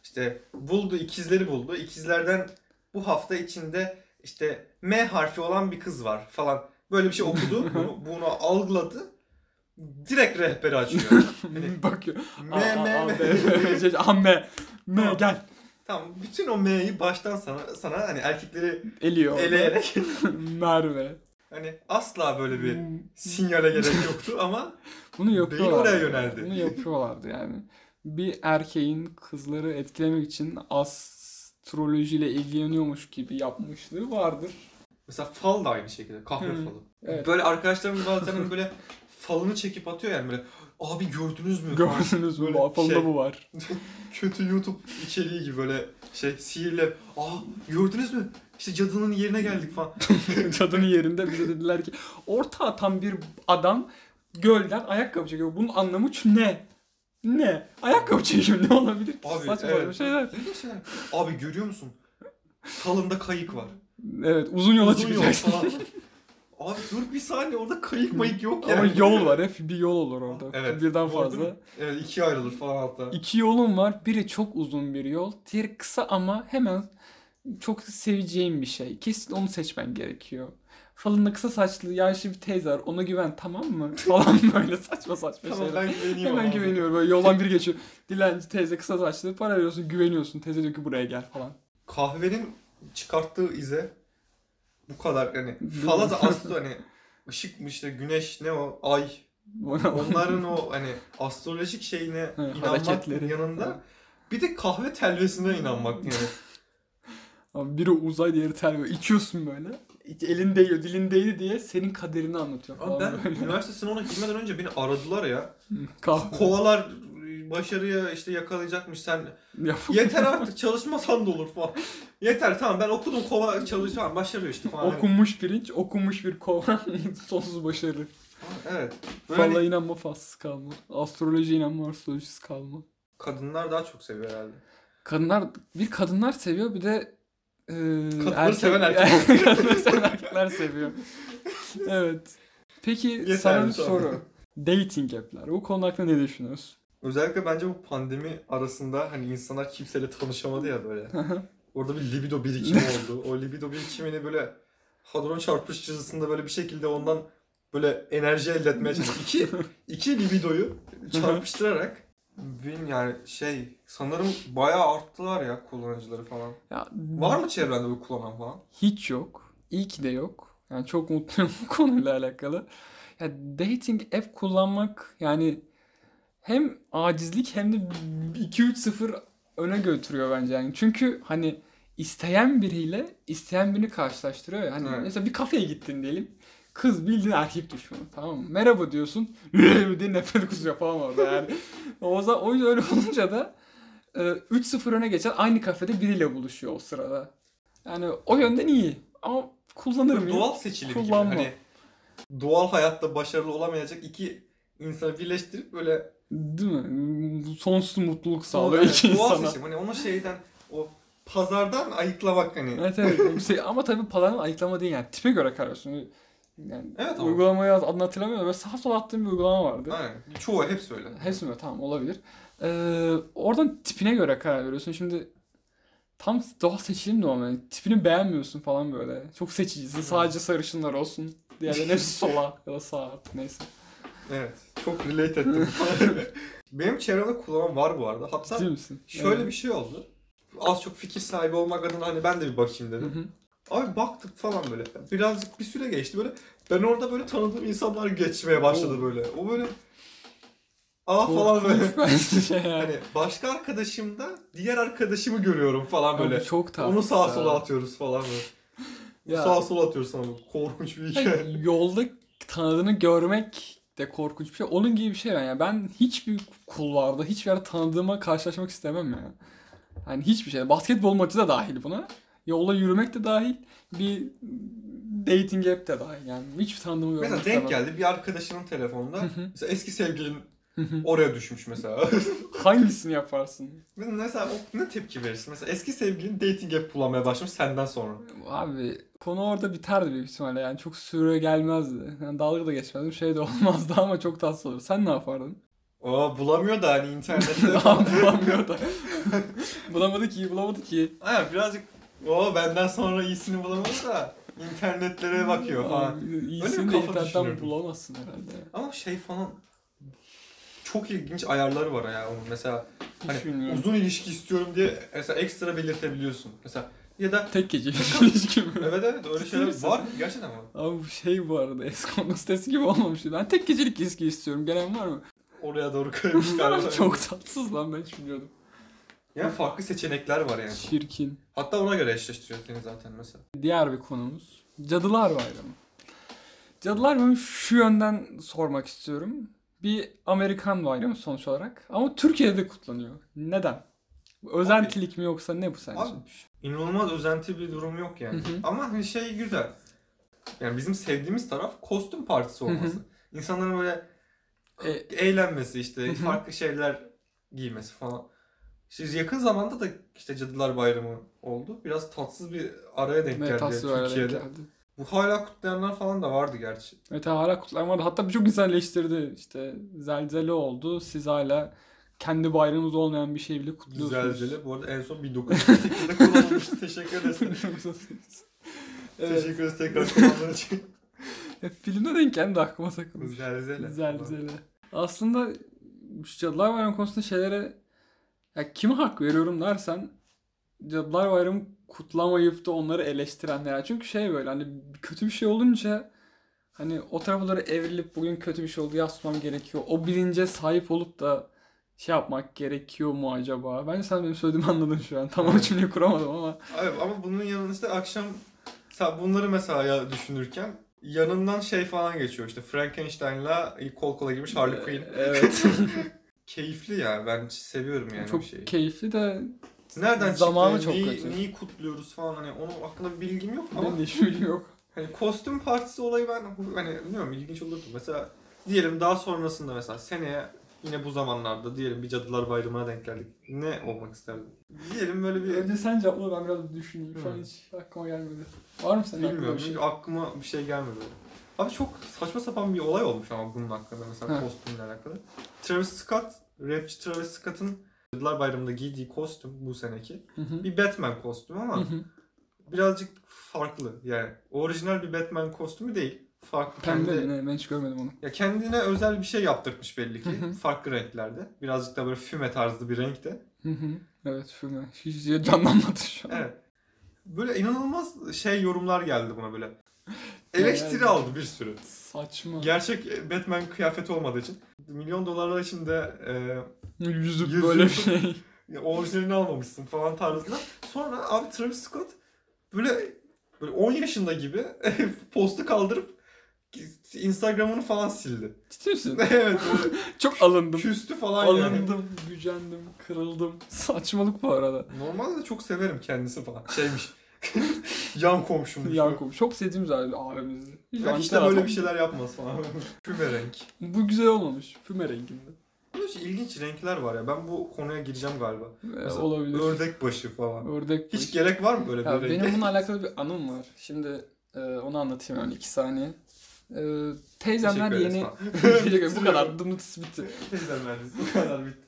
[SPEAKER 1] İşte buldu ikizleri buldu. İkizlerden bu hafta içinde işte M harfi olan bir kız var falan. Böyle bir şey okudu. bunu, bunu algıladı. Direkt rehberi açıyor. Hani
[SPEAKER 2] Bakıyor.
[SPEAKER 1] M
[SPEAKER 2] A, A,
[SPEAKER 1] M
[SPEAKER 2] A,
[SPEAKER 1] M.
[SPEAKER 2] B, C, C, Amme. M
[SPEAKER 1] Tamam.
[SPEAKER 2] gel.
[SPEAKER 1] Tamam bütün o M'yi baştan sana sana hani erkekleri
[SPEAKER 2] Eliyor.
[SPEAKER 1] eleyerek
[SPEAKER 2] Merve.
[SPEAKER 1] hani asla böyle
[SPEAKER 2] Hmm.
[SPEAKER 1] bir sinyale gerek yoktu ama
[SPEAKER 2] Bunu
[SPEAKER 1] Beyin
[SPEAKER 2] yapıyorlar.
[SPEAKER 1] oraya yöneldi.
[SPEAKER 2] Bunu yapıyorlardı yani. Bir erkeğin kızları etkilemek için astrolojiyle ilgileniyormuş gibi yapmışlığı vardır.
[SPEAKER 1] mesela fal da aynı şekilde kahve
[SPEAKER 2] Hı,
[SPEAKER 1] falı.
[SPEAKER 2] evet.
[SPEAKER 1] Böyle arkadaşlarımız bazen hani böyle falını çekip atıyor yani böyle abi gördünüz mü? falan.
[SPEAKER 2] Gördünüz mü?
[SPEAKER 1] Böyle
[SPEAKER 2] Balkonda
[SPEAKER 1] şey-
[SPEAKER 2] bu var.
[SPEAKER 1] Kötü YouTube içeriği gibi böyle şey sihirle aa gördünüz mü? İşte cadının yerine geldik falan.
[SPEAKER 2] Cadının yerinde bize dediler ki orta atan bir adam gölden ayakkabı çekiyor. Bunun anlamı ç- ne? Ne? Ayakkabı çekiyor ne olabilir ki?
[SPEAKER 1] Abi,
[SPEAKER 2] Saçma
[SPEAKER 1] evet.
[SPEAKER 2] saçma şeyler.
[SPEAKER 1] İlginç şeyler. Abi görüyor musun? Falında kayık var.
[SPEAKER 2] Evet uzun yola
[SPEAKER 1] Uzun yol
[SPEAKER 2] çıkacaksın.
[SPEAKER 1] falan. Abi dur bir saniye orada kayık mayık yok yani.
[SPEAKER 2] Ama yol var. Hep bir yol olur orada.
[SPEAKER 1] Evet.
[SPEAKER 2] Birden
[SPEAKER 1] Doğru değil
[SPEAKER 2] fazla.
[SPEAKER 1] mi? Evet ikiye ayrılır falan hatta.
[SPEAKER 2] İki yolum var. Biri çok uzun bir yol. Diğeri kısa ama hemen çok seveceğim bir şey. Kesin onu seçmen gerekiyor. Falında kısa saçlı yaşlı bir teyze var. Ona güven tamam mı? Falan böyle saçma saçma
[SPEAKER 1] Tamam
[SPEAKER 2] şeyler.
[SPEAKER 1] ben güveniyorum.
[SPEAKER 2] Hemen
[SPEAKER 1] abi.
[SPEAKER 2] güveniyorum. Böyle yoldan biri geçiyor. Dilenci teyze kısa saçlı. Para veriyorsun güveniyorsun. Teyze diyor ki buraya gel falan.
[SPEAKER 1] kahvenin çıkarttığı ize bu kadar yani fala da astro hani ışıkmış işte güneş ne o ay onların o hani astrolojik şeyine
[SPEAKER 2] Evet,
[SPEAKER 1] inanmak
[SPEAKER 2] hareketleri.
[SPEAKER 1] yanında bir de kahve telvesine inanmak yani.
[SPEAKER 2] Abi biri uzay diğeri terbiye. İçiyorsun böyle. Elin değiyor dilin değdi diye senin kaderini anlatıyor falan.
[SPEAKER 1] Abi ben
[SPEAKER 2] böyle.
[SPEAKER 1] üniversite sınavına girmeden önce beni aradılar ya.
[SPEAKER 2] Kahve.
[SPEAKER 1] Kovalar başarıya işte yakalayacakmış sen
[SPEAKER 2] Yap-
[SPEAKER 1] yeter artık çalışmasan da olur falan. Yeter tamam ben okudum kova çalışıyorum başarıyor işte falan.
[SPEAKER 2] Okunmuş pirinç, okunmuş bir kovan, sonsuz başarı.
[SPEAKER 1] Evet. Böyle
[SPEAKER 2] Falla inanma, falsız kalma. Astroloji inanma, astrolojisiz kalma.
[SPEAKER 1] kadınlar daha çok seviyor herhalde.
[SPEAKER 2] Kadınlar, bir kadınlar seviyor bir de e,
[SPEAKER 1] Kadınları seven
[SPEAKER 2] Kadınları seven erkekler seviyor. Evet. Peki sana
[SPEAKER 1] Yeterli
[SPEAKER 2] bir
[SPEAKER 1] sonra.
[SPEAKER 2] soru. Dating app'ler. Bu konu hakkında ne düşünüyorsun?
[SPEAKER 1] Özellikle bence bu pandemi arasında hani insanlar kimseyle tanışamadı ya böyle. Orada bir libido birikimi oldu. O libido birikimini böyle hadron çarpışıcısında böyle bir şekilde ondan böyle enerji elde etmeye çalıştı. İki, iki libidoyu çarpıştırarak bin yani şey sanırım bayağı arttılar ya kullanıcıları falan.
[SPEAKER 2] Ya,
[SPEAKER 1] Var mı çevrende bu kullanan falan?
[SPEAKER 2] Hiç yok. İyi ki de yok. Yani çok mutluyum bu konuyla alakalı. Ya dating app kullanmak yani hem acizlik hem de 2-3-0 öne götürüyor bence yani. Çünkü hani isteyen biriyle isteyen birini karşılaştırıyor ya. Hani
[SPEAKER 1] Evet.
[SPEAKER 2] mesela bir kafeye gittin diyelim. Kız bildiğin erkek düşmanı tamam mı? Merhaba diyorsun. diye nefret kusuyor falan orada yani. o zaman o yüzden öyle olunca da e, 3-0 öne geçen aynı kafede biriyle buluşuyor o sırada. Yani o yönden iyi. Ama kullanır mıyım?
[SPEAKER 1] Doğal seçilim gibi.
[SPEAKER 2] Kullanma.
[SPEAKER 1] Hani doğal hayatta başarılı olamayacak iki insanı birleştirip böyle
[SPEAKER 2] Değil mi? Sonsuz mutluluk sağlıyor
[SPEAKER 1] Evet,
[SPEAKER 2] iki
[SPEAKER 1] doğal
[SPEAKER 2] insana.
[SPEAKER 1] seçim. Hani onu şeyden o pazardan ayıklamak hani.
[SPEAKER 2] Evet evet. Şey, ama tabii paranın ayıklama değil yani. Tipe göre kararıyorsun. Yani
[SPEAKER 1] Evet ama-
[SPEAKER 2] uygulamayı az- adını hatırlamıyorum. Böyle sağ sol attığım bir uygulama vardı.
[SPEAKER 1] Aynen. Çoğu hep söyle.
[SPEAKER 2] Hepsi mi? Tamam olabilir. Ee, oradan tipine göre karar veriyorsun. Şimdi tam doğal seçilim de olmuyor. Yani tipini beğenmiyorsun falan böyle. Çok seçicisin. Sadece sarışınlar olsun. Diğerleri hepsi sola ya da sağa artık neyse.
[SPEAKER 1] Evet. Çok relate ettim. Benim çevremde kullanan var bu arada. Hatta
[SPEAKER 2] Ciddi misin?
[SPEAKER 1] şöyle bir şey oldu. Az çok fikir sahibi olmak adına hani ben de bir bakayım dedim.
[SPEAKER 2] Hı-hı.
[SPEAKER 1] Abi baktık falan böyle. Birazcık bir süre geçti böyle. Ben orada böyle tanıdığım insanlar geçmeye başladı
[SPEAKER 2] Oo.
[SPEAKER 1] böyle. O böyle aa falan böyle.
[SPEAKER 2] şey yani.
[SPEAKER 1] Hani başka arkadaşımda diğer arkadaşımı görüyorum falan Hani böyle.
[SPEAKER 2] Abi çok tatlı.
[SPEAKER 1] Onu sağa
[SPEAKER 2] ya.
[SPEAKER 1] sola atıyoruz falan böyle.
[SPEAKER 2] Ee, Ya.
[SPEAKER 1] Sağa sola atıyoruz ama korkunç bir şey. hikaye.
[SPEAKER 2] Hayır, yolda tanıdığını görmek de korkunç bir şey. Onun gibi bir şey yani. Ben hiçbir kulvarda, hiçbir yerde tanıdığıma karşılaşmak istemem ya. Yani hiçbir şey. Basketbol maçı da dahil buna. Yolda yürümek de dahil. Bir dating app de dahil. Yani hiç tanıdığımı görmek
[SPEAKER 1] Mesela denk geldi bir arkadaşının telefonunda.
[SPEAKER 2] hı.
[SPEAKER 1] mesela eski sevgilin
[SPEAKER 2] geldi.
[SPEAKER 1] oraya düşmüş mesela.
[SPEAKER 2] Hangisini yaparsın?
[SPEAKER 1] mesela o ne tepki verirsin? Mesela eski sevgilin dating app kullanmaya başlamış senden sonra.
[SPEAKER 2] Abi konu orada biterdi büyük ihtimalle. Yani çok süre gelmezdi. Yani dalga da geçmezdim. Şey de olmazdı ama çok tatlı olur. Sen ne yapardın?
[SPEAKER 1] Aa bulamıyor da hani internette.
[SPEAKER 2] Aa, bulamıyor da. bulamadı ki, bulamadı ki.
[SPEAKER 1] ha, birazcık o benden sonra iyisini bulamadı da internetlere bakıyor falan.
[SPEAKER 2] Abi,
[SPEAKER 1] Öyle bir
[SPEAKER 2] İyisini de
[SPEAKER 1] kafa
[SPEAKER 2] internetten
[SPEAKER 1] düşünüyorum.
[SPEAKER 2] bulamazsın herhalde.
[SPEAKER 1] Ama şey falan çok ilginç ayarları var ya onun. Mesela
[SPEAKER 2] Hiç
[SPEAKER 1] Hani
[SPEAKER 2] bilmiyorum.
[SPEAKER 1] uzun ilişki istiyorum diye mesela ekstra belirtebiliyorsun. Mesela ya da
[SPEAKER 2] Tek gece ilişki mi?
[SPEAKER 1] evet evet öyle
[SPEAKER 2] Ciddi
[SPEAKER 1] şeyler
[SPEAKER 2] misin?
[SPEAKER 1] var gerçekten ama.
[SPEAKER 2] Abi bu şey bu arada eskonluk sitesi gibi olmamış. Ben tek gecelik ilişki istiyorum. Gelen var mı?
[SPEAKER 1] Oraya doğru kaymış galiba.
[SPEAKER 2] Çok tatsız lan ben hiç bilmiyordum.
[SPEAKER 1] Yani farklı seçenekler var yani.
[SPEAKER 2] Çirkin.
[SPEAKER 1] Hatta ona göre eşleştiriyor seni zaten mesela.
[SPEAKER 2] Diğer bir konumuz. Cadılar Bayramı. Cadılar Bayramı şu yönden sormak istiyorum. Bir Amerikan bayramı sonuç olarak. Ama Türkiye'de de kutlanıyor. Neden? Bu Özentilik mi yoksa ne bu sence?
[SPEAKER 1] Abi inanılmaz özenti bir durum yok yani.
[SPEAKER 2] Hı hı.
[SPEAKER 1] Ama hani şey güzel. Yani bizim sevdiğimiz taraf kostüm partisi
[SPEAKER 2] Hı hı.
[SPEAKER 1] olması. İnsanların böyle
[SPEAKER 2] E-
[SPEAKER 1] eğlenmesi işte
[SPEAKER 2] Hı hı.
[SPEAKER 1] farklı şeyler giymesi falan. İşte yakın zamanda da işte Cadılar Bayramı oldu. Biraz tatsız bir araya denk geldi
[SPEAKER 2] Metas olarak
[SPEAKER 1] Türkiye'de.
[SPEAKER 2] geldi.
[SPEAKER 1] Bu hala kutlayanlar falan da vardı gerçi.
[SPEAKER 2] Evet hala kutlar vardı. Hatta birçok güzelleştirdi. İşte zelzele oldu. Siz hala kendi bayramımız olmayan bir şey bile kutluyorsunuz.
[SPEAKER 1] Zelzele. Bu arada en son 1948'de kullanılmıştı. Teşekkür ederiz.
[SPEAKER 2] evet.
[SPEAKER 1] Teşekkür ederiz tekrar kullandığın için.
[SPEAKER 2] Ya, filmde denk geldi aklıma takılmış.
[SPEAKER 1] Zelzele.
[SPEAKER 2] Zelzele. Aslında şu Cadılar Bayramı konusunda şeylere ya kime hak veriyorum dersen Cadılar Bayramı kutlamayıp da onları eleştirenler. Çünkü şey böyle hani kötü bir şey olunca hani o taraflara evrilip bugün kötü bir şey oldu yaslamam gerekiyor. O bilince sahip olup da şey yapmak gerekiyor mu acaba? Bence sen benim söylediğimi anladın şu an. Tam o
[SPEAKER 1] Evet.
[SPEAKER 2] cümleyi kuramadım ama.
[SPEAKER 1] Abi, ama bunun yanında işte akşam mesela bunları mesela ya düşünürken yanından şey falan geçiyor işte Frankenstein'la kol kola girmiş
[SPEAKER 3] Ee,
[SPEAKER 1] Harley Quinn.
[SPEAKER 2] Evet.
[SPEAKER 1] Keyifli ya ben seviyorum yani şey. o
[SPEAKER 2] çok
[SPEAKER 1] şeyi.
[SPEAKER 2] keyifli de
[SPEAKER 1] Nereden
[SPEAKER 3] Zamanı
[SPEAKER 1] çıktı?
[SPEAKER 3] çok
[SPEAKER 1] neyi,
[SPEAKER 3] kötü.
[SPEAKER 1] Neyi kutluyoruz falan hani onun hakkında bir bilgim yok ama
[SPEAKER 2] Benim de hiçbir bilgim yok.
[SPEAKER 1] hani kostüm partisi olayı ben hani bilmiyorum ilginç olurdu. Mesela diyelim daha sonrasında mesela seneye yine bu zamanlarda diyelim bir Cadılar Bayramı'na denk geldik. Ne olmak isterdin? Diyelim böyle bir
[SPEAKER 2] Ee, Önce sen cevapla ben biraz düşüneyim. Şu an
[SPEAKER 1] Hı.
[SPEAKER 2] hiç aklıma gelmedi. Var mı senin aklında
[SPEAKER 1] Bilmiyorum
[SPEAKER 2] bir şey?
[SPEAKER 1] çünkü aklıma bir şey gelmedi. Abi çok saçma sapan bir olay olmuş ama bunun hakkında mesela
[SPEAKER 2] Heh.
[SPEAKER 1] kostümle alakalı. Travis Scott, rapçi Travis Scott'ın Yıllar Bayramı'nda giydiği kostüm bu seneki.
[SPEAKER 2] Hı hı.
[SPEAKER 1] Bir Batman kostümü
[SPEAKER 2] Hı
[SPEAKER 1] ama
[SPEAKER 2] hı.
[SPEAKER 1] birazcık farklı. Yani orijinal bir Batman kostümü değil. Farklı
[SPEAKER 2] Pembe
[SPEAKER 1] kendi,
[SPEAKER 2] mi ne? Ben hiç görmedim onu.
[SPEAKER 1] ya kendine özel bir şey yaptırmış belli
[SPEAKER 2] Hı
[SPEAKER 1] ki.
[SPEAKER 2] hı.
[SPEAKER 1] farklı renklerde. Birazcık da böyle füme tarzı bir renkte.
[SPEAKER 2] Hı hı. Evet filmi. Hiç şey canlanmadı şu an.
[SPEAKER 1] Evet. Böyle inanılmaz şey yorumlar geldi buna böyle. Eleştiri
[SPEAKER 2] Genelde.
[SPEAKER 1] aldı bir sürü.
[SPEAKER 2] Saçma.
[SPEAKER 1] Gerçek e, Batman kıyafeti olmadığı için milyon dolarlar için de
[SPEAKER 2] Yüzüp
[SPEAKER 1] Yüzüp-
[SPEAKER 2] böyle bir şey.
[SPEAKER 1] e, orijinalini almamışsın falan tarzında. Sonra abi Travis Scott böyle, böyle 10 yaşında gibi postu kaldırıp Instagram'ını falan sildi.
[SPEAKER 2] Ciddi misin?
[SPEAKER 1] evet böyle
[SPEAKER 2] Çok alındım.
[SPEAKER 1] küstü falan yani.
[SPEAKER 2] Alındım, gücendim, kırıldım. Saçmalık bu arada.
[SPEAKER 1] Normalde de çok severim kendisi falan. Şeymiş. yan komşummuş.
[SPEAKER 2] Yakup çok sevdiğimiz abi abimizdi.
[SPEAKER 1] Ya
[SPEAKER 2] Yanlış
[SPEAKER 1] işte böyle
[SPEAKER 2] adam.
[SPEAKER 1] bir şey- şeyler yapmaz falan. Küme renk.
[SPEAKER 2] Bu güzel olmamış. Ee, Füme renginde.
[SPEAKER 1] Böyle ilginç renkler var ya. Ben bu konuya gireceğim galiba.
[SPEAKER 2] Ee,
[SPEAKER 1] Mesela
[SPEAKER 2] olabilir.
[SPEAKER 1] Ördek başı falan.
[SPEAKER 2] Ördek.
[SPEAKER 1] Hiç gerek var mı böyle
[SPEAKER 2] Ya
[SPEAKER 1] bir renk?
[SPEAKER 2] benim bununla alakalı bir anım var. Şimdi e, onu anlatayım yani iki saniye. E, teyzemler
[SPEAKER 1] Teşekkür ederiz
[SPEAKER 2] yeni...
[SPEAKER 1] falan.
[SPEAKER 2] Teşekkür ederim. bu
[SPEAKER 1] Bitiriyorum.
[SPEAKER 2] kadar dımdıs bitti.
[SPEAKER 1] Teyzem verdi. Bu kadar bitti.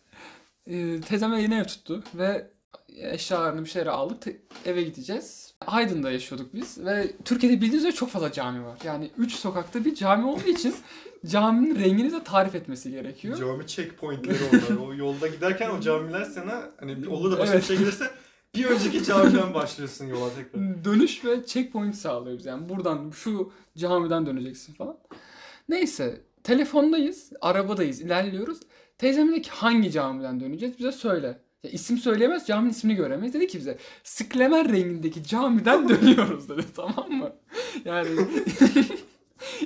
[SPEAKER 2] E, teyzemler yeni ev tuttu ve eşyalarını bir şeyler aldık. Te- eve gideceğiz. Aydın'da yaşıyorduk biz ve Türkiye'de bildiğiniz üzere çok fazla cami var. Yani 3 sokakta bir cami olduğu için caminin rengini de tarif etmesi gerekiyor.
[SPEAKER 1] Cami checkpointleri onlar. O yolda giderken o camiler sana hani bir olur da başka
[SPEAKER 2] Evet.
[SPEAKER 1] bir şey gelirse bir önceki camiden başlıyorsun yola tekrar.
[SPEAKER 2] dönüş ve checkpoint sağlıyor bize. Yani buradan şu camiden döneceksin falan. Neyse telefondayız, arabadayız, ilerliyoruz. Teyzem dedi ki hangi camiden döneceğiz bize söyle. Ya isim söyleyemez, caminin ismini göremeyiz. Dedi ki bize Sklemer rengindeki camiden dönüyoruz dedi tamam mı? Yani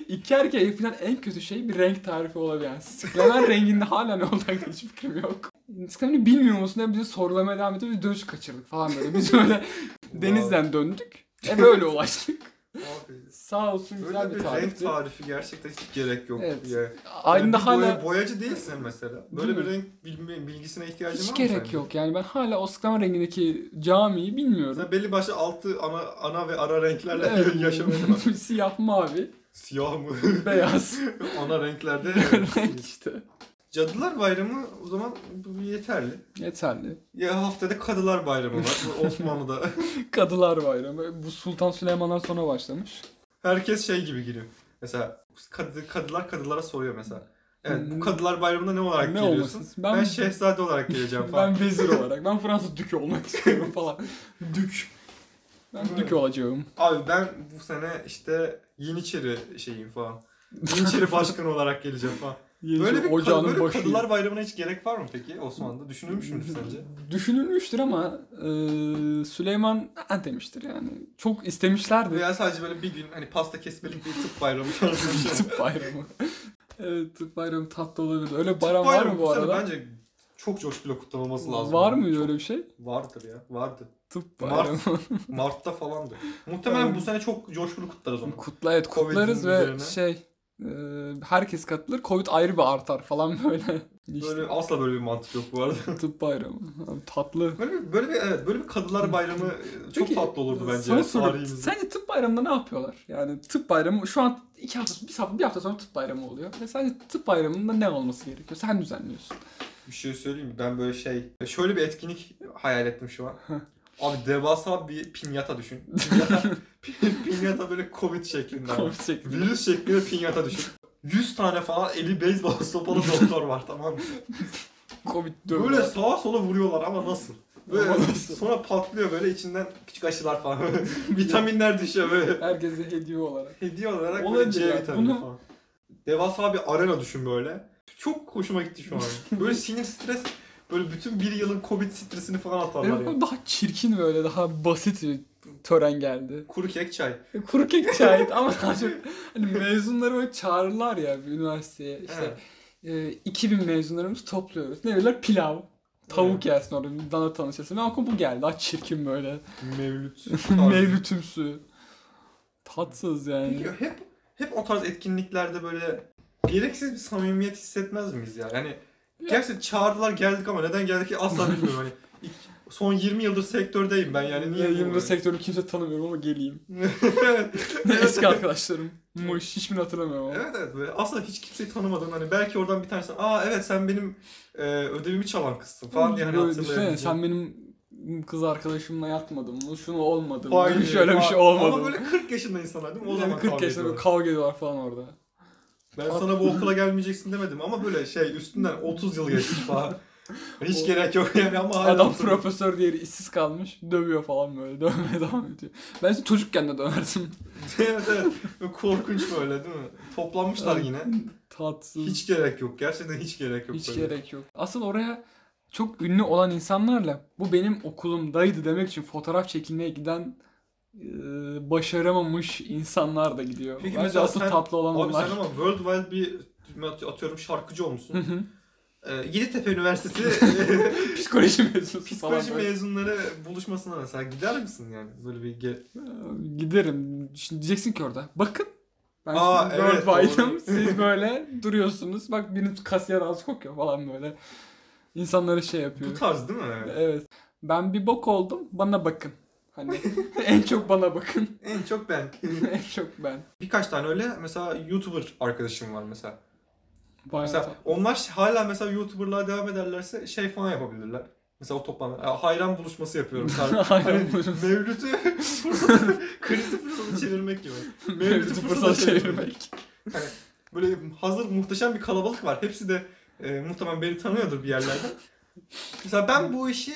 [SPEAKER 2] iki erkeğe yapılan en kötü şey bir renk tarifi olabilir. Yani Sklemer renginde hala ne olacak hiç fikrim yok. Sklemer'i bilmiyor musun diye bize sorulamaya devam ediyor. Biz dönüş kaçırdık falan böyle. Biz öyle Denizden döndük. E böyle ulaştık.
[SPEAKER 1] Abi,
[SPEAKER 2] Sağ olsun güzel
[SPEAKER 1] Böyle
[SPEAKER 2] bir
[SPEAKER 1] bir renk
[SPEAKER 2] tarifti.
[SPEAKER 1] tarifi gerçekten hiç gerek yok.
[SPEAKER 2] Evet.
[SPEAKER 1] Yani
[SPEAKER 2] Aynı
[SPEAKER 1] bir
[SPEAKER 2] hala
[SPEAKER 1] boya- boyacı değilsin mesela. Böyle
[SPEAKER 2] Değil
[SPEAKER 1] bir
[SPEAKER 2] mi?
[SPEAKER 1] renk bilme- bilgisine ihtiyacın var
[SPEAKER 2] hiç
[SPEAKER 1] mı?
[SPEAKER 2] gerek
[SPEAKER 1] sence?
[SPEAKER 2] yok yani. Ben hala Osklama rengindeki camiyi bilmiyorum.
[SPEAKER 1] Mesela belli başlı altı ana, ana ve ara renklerle
[SPEAKER 2] Evet.
[SPEAKER 1] yaşamaya bak.
[SPEAKER 2] Siyah mavi,
[SPEAKER 1] Siyah mı?
[SPEAKER 2] beyaz
[SPEAKER 1] ana renklerde.
[SPEAKER 2] renk işte.
[SPEAKER 1] Cadılar Bayramı o zaman bu yeterli.
[SPEAKER 2] Yeterli.
[SPEAKER 1] Ya haftada Kadılar Bayramı var. Bu Osmanlı'da.
[SPEAKER 2] Kadılar Bayramı. Bu Sultan Süleyman'dan sonra başlamış.
[SPEAKER 1] Herkes şey gibi giriyor. Mesela kadı, kadılar kadılara soruyor mesela. Evet bu
[SPEAKER 2] Hmm.
[SPEAKER 1] Kadılar Bayramı'nda ne olarak
[SPEAKER 2] ne
[SPEAKER 1] geliyorsun?
[SPEAKER 2] olmasın?
[SPEAKER 1] Ben,
[SPEAKER 2] Ben,
[SPEAKER 1] şehzade olarak geleceğim falan.
[SPEAKER 2] ben vezir olarak. Ben Fransız dükü olmak istiyorum falan. Dük. Ben
[SPEAKER 1] Evet.
[SPEAKER 2] dük olacağım.
[SPEAKER 1] Abi ben bu sene işte Yeniçeri şeyim falan. Yeniçeri başkanı olarak geleceğim falan. Böyle bir kadı-
[SPEAKER 2] ocağının
[SPEAKER 1] böyle
[SPEAKER 2] başı.
[SPEAKER 1] Kadılar Bayramı'na hiç gerek var mı peki Osmanlı'da? Düşünülmüş müdür sence?
[SPEAKER 2] Düşünülmüştür ama e, Süleyman "Ha" demiştir yani. Çok istemişlerdi
[SPEAKER 1] Veya sadece böyle bir gün hani pasta kesmelik bir tıp bayramı tarzı bir şey.
[SPEAKER 2] tıp bayramı. evet tıp bayramı tatlı olabilir. Öyle bayram var
[SPEAKER 1] Bayramı
[SPEAKER 2] mı bu
[SPEAKER 1] bu sene
[SPEAKER 2] arada?
[SPEAKER 1] Bence çok coşkuyla kutlanılması lazım.
[SPEAKER 2] Var
[SPEAKER 1] Yani.
[SPEAKER 2] mı
[SPEAKER 1] Çok-
[SPEAKER 2] öyle bir şey?
[SPEAKER 1] Vardır ya. Vardı.
[SPEAKER 2] Tıp
[SPEAKER 1] Mart.
[SPEAKER 2] bayramı.
[SPEAKER 1] Mart'ta falandı. Muhtemelen bu sene çok coşkulu kutlarız onu.
[SPEAKER 2] Kutla evet
[SPEAKER 1] Covid'in
[SPEAKER 2] kutlarız ve
[SPEAKER 1] üzerine.
[SPEAKER 2] şey e, herkes katılır. Covid ayrı bir artar falan böyle. İşte
[SPEAKER 1] Böyle asla böyle bir mantık yok bu arada.
[SPEAKER 2] tıp bayramı. Abi, tatlı.
[SPEAKER 1] Böyle bir, böyle bir, evet, böyle bir kadılar bayramı e, çok
[SPEAKER 2] Peki,
[SPEAKER 1] tatlı olurdu bence.
[SPEAKER 2] Sana
[SPEAKER 1] ya,
[SPEAKER 2] soru,
[SPEAKER 1] tarihimizde.
[SPEAKER 2] sence tıp bayramında ne yapıyorlar? Yani tıp bayramı şu an iki hafta, bir hafta, bir hafta sonra tıp bayramı oluyor. Ve sence tıp bayramında ne olması gerekiyor? Sen düzenliyorsun.
[SPEAKER 1] Bir şey söyleyeyim mi? Ben böyle şey, şöyle bir etkinlik hayal ettim şu an. Abi devasa bir pinyata düşün. Pinyata, pi- pinyata böyle covid şeklinde. ama.
[SPEAKER 2] Covid şeklinde.
[SPEAKER 1] Virüs şeklinde pinyata düşün. 100 tane falan eli beyzbol sopalı doktor var tamam mı?
[SPEAKER 2] Covid dönemi.
[SPEAKER 1] Böyle sağa sola vuruyorlar ama nasıl? Böyle
[SPEAKER 2] Ama nasıl?
[SPEAKER 1] sonra patlıyor böyle içinden küçük aşılar falan. Vitaminler düşüyor böyle.
[SPEAKER 2] Herkese hediye olarak.
[SPEAKER 1] Hediye olarak böyle
[SPEAKER 2] Olabilir
[SPEAKER 1] C
[SPEAKER 2] ya,
[SPEAKER 1] vitamini
[SPEAKER 2] bunu-
[SPEAKER 1] falan. Devasa bir arena düşün böyle. Çok hoşuma gitti şu an. Böyle sinir stres böyle bütün bir yılın Covid stresini falan atarlar
[SPEAKER 2] Benim
[SPEAKER 1] yani.
[SPEAKER 2] daha çirkin böyle daha basit bir tören geldi. E,
[SPEAKER 1] Kuru kek çay.
[SPEAKER 2] Kuru kek çaydı ama daha çok hani mezunları böyle çağırırlar ya bir üniversiteye. İşte
[SPEAKER 1] Evet.
[SPEAKER 2] e, 2000 mezunlarımızı topluyoruz. Ne diyorlar? Pilav. Tavuk yersin orada. bir Dana tanışırsın. Ve aklıma bu geldi. Aç çirkin böyle.
[SPEAKER 1] Mevlüt.
[SPEAKER 2] Mevlütümsü. Tatsız yani.
[SPEAKER 1] Peki hep hep o tarz etkinliklerde böyle gereksiz bir samimiyet hissetmez miyiz ya? Yani gerçi çağırdılar geldik ama neden geldik ki asla bilmiyorum. hani ilk- son 20 yıldır sektördeyim ben yani niye
[SPEAKER 2] Niye yıldır
[SPEAKER 1] bilmiyorum.
[SPEAKER 2] sektörü kimse tanımıyorum ama geleyim.
[SPEAKER 1] Evet.
[SPEAKER 2] Eski arkadaşlarım. Muş. Hiçbirini hatırlamıyorum ama.
[SPEAKER 1] Evet evet böyle aslında hiç kimseyi tanımadım hani belki oradan bir tanesi aa evet sen benim e, ödevimi çalan kızsın falan diye hani
[SPEAKER 2] Böyle düşünsene
[SPEAKER 1] hatırlayamayacağım.
[SPEAKER 2] sen benim kız arkadaşımla yatmadın mı? Şunu olmadı mı?
[SPEAKER 1] Aynı,
[SPEAKER 2] Şöyle bir
[SPEAKER 1] aa,
[SPEAKER 2] şey olmadı
[SPEAKER 1] Ama
[SPEAKER 2] mı?
[SPEAKER 1] böyle 40 yaşında insanlar değil mi? O
[SPEAKER 2] Yani
[SPEAKER 1] zaman
[SPEAKER 2] 40 yaşında böyle kavga ediyorlar falan orada.
[SPEAKER 1] Ben sana bu okula gelmeyeceksin demedim ama böyle şey üstünden 30 yıl geçmiş falan. Hiç gerek yok yani ama hala
[SPEAKER 2] Adam
[SPEAKER 1] hatırlıyorum.
[SPEAKER 2] profesör diğeri işsiz kalmış. Dövüyor falan böyle. Dövmeye devam ediyor. Ben işte çocukken de döverdim.
[SPEAKER 1] evet evet. Böyle korkunç böyle değil mi? Toplanmışlar
[SPEAKER 2] Evet.
[SPEAKER 1] yine.
[SPEAKER 2] Tatsız.
[SPEAKER 1] Hiç gerek yok. Gerçekten hiç gerek yok.
[SPEAKER 2] Hiç
[SPEAKER 1] böyle.
[SPEAKER 2] gerek yok. Asıl oraya çok ünlü olan insanlarla bu benim okulumdaydı demek için fotoğraf çekilmeye giden e, başaramamış insanlar da gidiyor.
[SPEAKER 1] Peki
[SPEAKER 2] Bence
[SPEAKER 1] mesela
[SPEAKER 2] asıl
[SPEAKER 1] sen-
[SPEAKER 2] tatlı olan
[SPEAKER 1] Abi
[SPEAKER 2] onlar.
[SPEAKER 1] sen ama worldwide bir atıyorum şarkıcı
[SPEAKER 2] Hı
[SPEAKER 1] olmuşsun.
[SPEAKER 2] hı.
[SPEAKER 1] ee, Yeditepe Üniversitesi
[SPEAKER 2] Psikoloji mevzusu
[SPEAKER 1] psikoloji
[SPEAKER 2] falan. böyle.
[SPEAKER 1] mezunları buluşmasına mesela gider misin yani? Böyle bir ge-
[SPEAKER 2] Ee, Giderim. Şimdi diyeceksin ki orada. Bakın. Ben
[SPEAKER 1] Aa,
[SPEAKER 2] şimdi
[SPEAKER 1] evet,
[SPEAKER 2] worldwide'ım.
[SPEAKER 1] doğru.
[SPEAKER 2] Siz böyle duruyorsunuz. Bak benim kasiyer az kokuyor falan böyle. İnsanlara şey yapıyor.
[SPEAKER 1] bu tarz değil mi? Yani?
[SPEAKER 2] Evet. Ben bir bok oldum. Bana bakın. Hani en çok bana bakın.
[SPEAKER 1] En çok ben.
[SPEAKER 2] en çok ben.
[SPEAKER 1] Birkaç tane öyle mesela YouTuber arkadaşım var mesela.
[SPEAKER 2] Bayağı
[SPEAKER 1] Mesela
[SPEAKER 2] tatlı.
[SPEAKER 1] onlar ş- hala mesela YouTuber'lığa devam ederlerse şey falan yapabilirler. Mesela o toplantı. Ya hayran buluşması yapıyorum. Hayran
[SPEAKER 2] Hayran
[SPEAKER 1] hani
[SPEAKER 2] buluşması.
[SPEAKER 1] Mevlüt'ü fırsatı, krizi fırsatı çevirmek gibi.
[SPEAKER 2] Mevlüt'ü fırsata çevirmek.
[SPEAKER 1] Hani böyle hazır muhteşem bir kalabalık var. Hepsi de e, muhtemelen beni tanıyordur bir yerlerden. mesela ben bu işi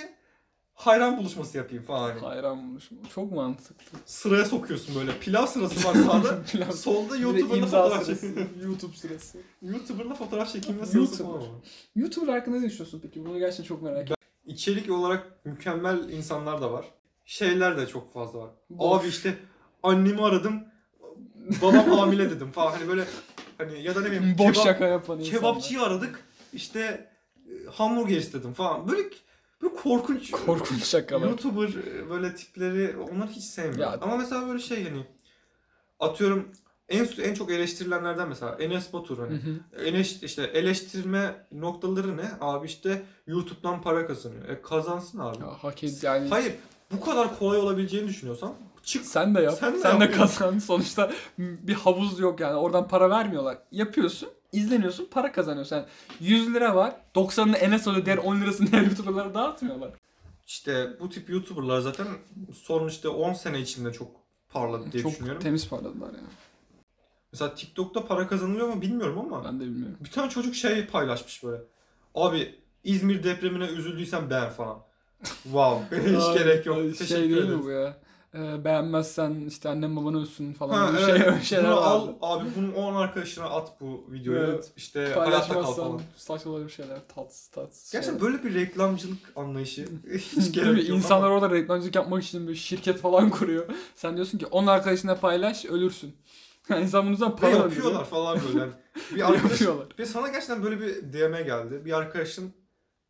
[SPEAKER 1] hayran buluşması yapayım falan. hani.
[SPEAKER 2] Hayran buluşması. Çok mantıklı.
[SPEAKER 1] Sıraya sokuyorsun böyle. Pilav sırası var sağda.
[SPEAKER 2] Plan-
[SPEAKER 1] Solda
[SPEAKER 2] Bir de
[SPEAKER 1] YouTuber'la
[SPEAKER 2] imza
[SPEAKER 1] fotoğraf
[SPEAKER 2] sırası,
[SPEAKER 1] çekiyor.
[SPEAKER 2] YouTube sırası.
[SPEAKER 1] YouTuber'la fotoğraf çekilme sırası
[SPEAKER 2] YouTuber.
[SPEAKER 1] falan var.
[SPEAKER 2] YouTuber hakkında ne düşünüyorsun peki? Bunu gerçekten çok merak ediyorum.
[SPEAKER 1] İçerik olarak mükemmel insanlar da var. Şeyler de çok fazla var.
[SPEAKER 2] Boş.
[SPEAKER 1] Abi işte annemi aradım. Babam hamile dedim falan. Hani böyle hani ya da ne bileyim
[SPEAKER 2] Boş
[SPEAKER 1] kebap-
[SPEAKER 2] şaka yapan insanlar.
[SPEAKER 1] kebapçıyı aradık. İşte e, hamburger istedim falan. Böyle, böyle korkunç
[SPEAKER 2] Korkunç şakalar.
[SPEAKER 1] YouTuber e, böyle tipleri onları hiç sevmiyorum.
[SPEAKER 2] Ya-
[SPEAKER 1] Ama mesela böyle şey hani atıyorum en en çok eleştirilenlerden mesela Enes Batur hani
[SPEAKER 2] Hı hı.
[SPEAKER 1] Eleş, işte eleştirme noktaları ne? Abi işte YouTube'dan para kazanıyor. E kazansın abi.
[SPEAKER 2] Ya, hak et yani.
[SPEAKER 1] Hayır bu kadar kolay olabileceğini düşünüyorsan çık.
[SPEAKER 2] Sen de yap.
[SPEAKER 1] Sen
[SPEAKER 2] Sen
[SPEAKER 1] de
[SPEAKER 2] de,
[SPEAKER 1] yap.
[SPEAKER 2] kazan. Sonuçta bir havuz yok yani. Oradan para vermiyorlar. Yapıyorsun, izleniyorsun, para kazanıyorsun. Yani 100 lira var. 90'ını Enes alıyor. Diğer 10 lirasını diğer YouTuber'lara dağıtmıyorlar.
[SPEAKER 1] İşte bu tip YouTuber'lar zaten son işte 10 sene içinde çok parladı diye
[SPEAKER 2] Çok
[SPEAKER 1] düşünüyorum.
[SPEAKER 2] temiz parladılar ya.
[SPEAKER 1] Mesela TikTok'ta para kazanılıyor mu bilmiyorum ama
[SPEAKER 2] Ben de bilmiyorum.
[SPEAKER 1] bir tane çocuk şey paylaşmış böyle. Abi İzmir depremine üzüldüysen beğen falan. Wow. Hiç
[SPEAKER 2] Ay,
[SPEAKER 1] gerek yok.
[SPEAKER 2] ay,
[SPEAKER 1] Teşekkür
[SPEAKER 2] Şey değil
[SPEAKER 1] ederim.
[SPEAKER 2] mi bu ya? Ee, beğenmezsen işte annem baban ölsün
[SPEAKER 1] Ha,
[SPEAKER 2] falan. Ha,
[SPEAKER 1] evet.
[SPEAKER 2] şey, öyle şeyler
[SPEAKER 1] Bunu
[SPEAKER 2] var.
[SPEAKER 1] al abi bunu 10 arkadaşına at bu videoyu.
[SPEAKER 2] Evet.
[SPEAKER 1] İşte hayatta kal
[SPEAKER 2] Paylaşmazsan
[SPEAKER 1] falan.
[SPEAKER 2] saçmalar bir şeyler. Tatsız tatsız
[SPEAKER 1] Gerçekten
[SPEAKER 2] şeyler.
[SPEAKER 1] böyle bir reklamcılık anlayışı hiç
[SPEAKER 2] Değil mi?
[SPEAKER 1] gerek yok.
[SPEAKER 2] İnsanlar
[SPEAKER 1] ama-
[SPEAKER 2] orada reklamcılık yapmak için bir şirket falan kuruyor. Sen diyorsun ki onun arkadaşına paylaş ölürsün. Yani insan bunun üzerinden
[SPEAKER 1] Ve
[SPEAKER 2] para
[SPEAKER 1] yapıyorlar falan böyle. Yani bir
[SPEAKER 2] alıyor.
[SPEAKER 1] arkadaş
[SPEAKER 2] Yapıyorlar.
[SPEAKER 1] ve sana gerçekten böyle bir DM geldi. Bir arkadaşın